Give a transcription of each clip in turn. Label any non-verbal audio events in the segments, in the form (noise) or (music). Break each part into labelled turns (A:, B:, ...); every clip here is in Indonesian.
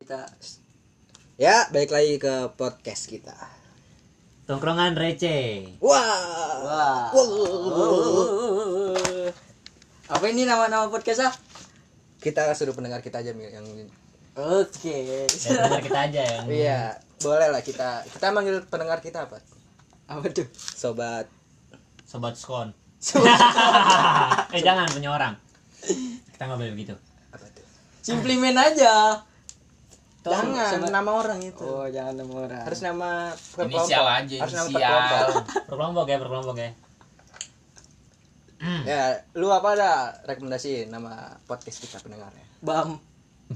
A: kita ya balik lagi ke podcast kita
B: Tongkrongan
A: (laughs)
B: receh.
C: Wah.
A: wah apa ini nama-nama podcastnya
C: ah?
A: kita suruh pendengar kita aja Mi, yang
C: Oke.
B: Ya, dengar kita aja yang
A: iya boleh lah kita kita manggil pendengar kita apa
C: Apa tuh?
A: sobat
B: sobat skon.
A: sobat
B: (laughs) eh jangan punya orang. Kita nggak boleh begitu.
A: apa tuh
C: Simplimen aja.
A: jangan
C: sobat-
A: nama orang itu
C: Oh, jangan nama orang.
A: harus nama per
D: Inisial
A: kelompok.
D: aja,
A: harus nama per
D: inisial.
A: kelompok.
B: Perkelompok ya, perkelompok ya. Hmm.
A: ya lu apa ada rekomendasi nama podcast kita pendengarnya
C: Bam.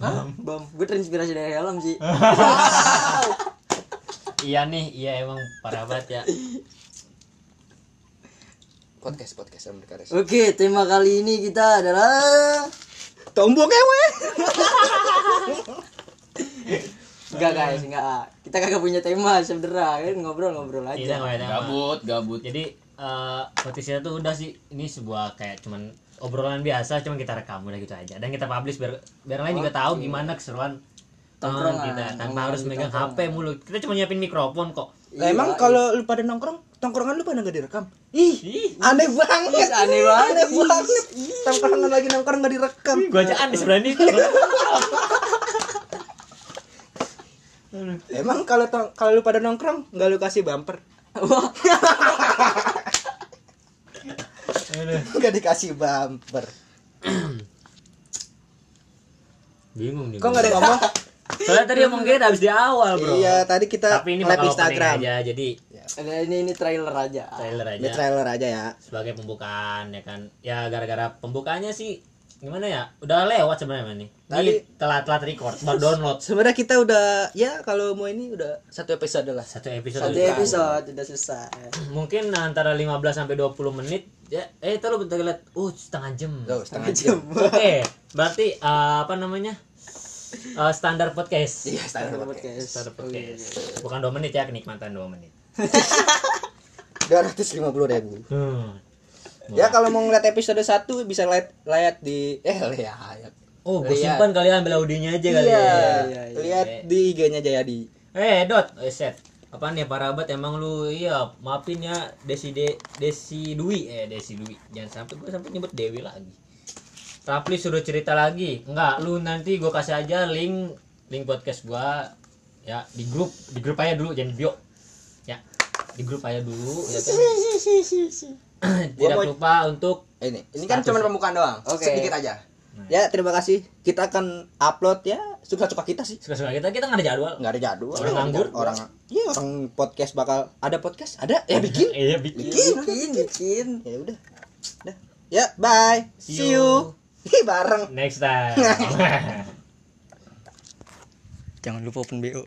C: Hah? Bam. Gue terinspirasi dari helm sih.
B: Iya nih, iya emang parah banget ya.
A: podcast podcast yang berkarya
C: Oke, tema kali ini kita adalah ya,
A: tombol kewe
C: Enggak guys, enggak. Kita kagak punya tema sebenernya kan ngobrol-ngobrol
B: Tidak
C: aja.
B: nggak ada tema.
D: Gabut, gabut.
B: Iya, Jadi eh podcast kita tuh udah sih ini sebuah kayak cuman obrolan biasa cuman kita rekam udah gitu aja dan kita publish biar biar lain juga tahu gimana keseruan
C: Tongkrongan,
B: tongkrongan kita tanpa
C: tongkrongan
B: harus
C: di
B: megang
C: tongkrongan.
B: HP mulu kita cuma nyiapin mikrofon kok
A: Lah emang
C: Iya,
A: kalau lu pada nongkrong, tongkrongan lu pada gak direkam? Ih,
B: Ih,
A: aneh banget.
C: Ih, aneh banget.
A: Aneh banget. Tongkrongan lagi nongkrong gak direkam.
B: gue aja aneh sebenarnya
A: Emang kalau tong- kalau lu pada nongkrong nggak lu kasih bumper?
C: Wah,
A: Gak dikasih bumper.
B: bingung nih
A: Kok gak ada yang ngomong?
B: soalnya tadi emang kita habis di awal bro
A: iya, tadi kita
B: tapi ini
A: live
B: bakal Instagram
A: Instagram.
B: aja jadi
C: ada ini ini trailer aja.
B: trailer aja
A: Ini trailer aja ya.
B: sebagai pembukaan ya kan ya gara-gara pembukaannya sih gimana ya udah lewat sebenarnya nih tadi
A: Tadi-
B: telat-telat record baru download
A: Sebenarnya kita udah ya kalau mau ini udah satu episode lah.
B: satu episode
C: Satu
B: udah.
C: episode udah selesai.
B: mungkin antara 15 sampai 20 menit ya eh itu lu bentar lihat uh setengah jam
A: Tuh,
B: oke
A: setengah jam.
B: berarti eh, apa namanya Eh, standar podcast
A: Iya, standar podcast.
C: Podcast.
B: standar podcast bukan 2 menit ya kenikmatan 2 menit
A: 250 ribu.
B: Hmm.
A: Ya kalau mau ngeliat episode 1 bisa lihat lihat di eh lihat.
B: Oh, gue
A: Lihat.
B: simpan kalian ambil audionya aja kali
A: Iya,
B: ya.
A: lihat di IG-nya Jayadi.
B: Eh, Dot, eh, set. Apa nih para abad emang lu iya maafin ya Desi De, Desi Dwi eh Desi Dwi. Jangan sampai gue sampai nyebut Dewi lagi. Rafli suruh cerita lagi. Enggak, lu nanti gue kasih aja link link podcast gua ya di grup, di grup aja dulu jangan di bio. Ya, di grup aja dulu ya kan. (clears throat) Tidak
A: (laughs) Gua mau-
B: lupa untuk
A: Ini, ini kan cuma pembukaan doang.
C: Oke.
A: Sedikit aja. Ya, terima kasih. Kita akan upload ya suka-suka kita sih.
B: suka-suka kita kita nggak ada jadwal.
A: Nggak ada jadwal.
B: Orang nganggur.
A: Orang Iya, orang podcast bakal ada podcast, ada ya bikin.
B: (laughs) Iya, bikin.
C: Bikin, bikin.
A: Ya udah. Dah. Ya, bye. See
B: See
A: you. Ih, bareng. (laughs)
B: Next time.
A: Jangan lupa open BO.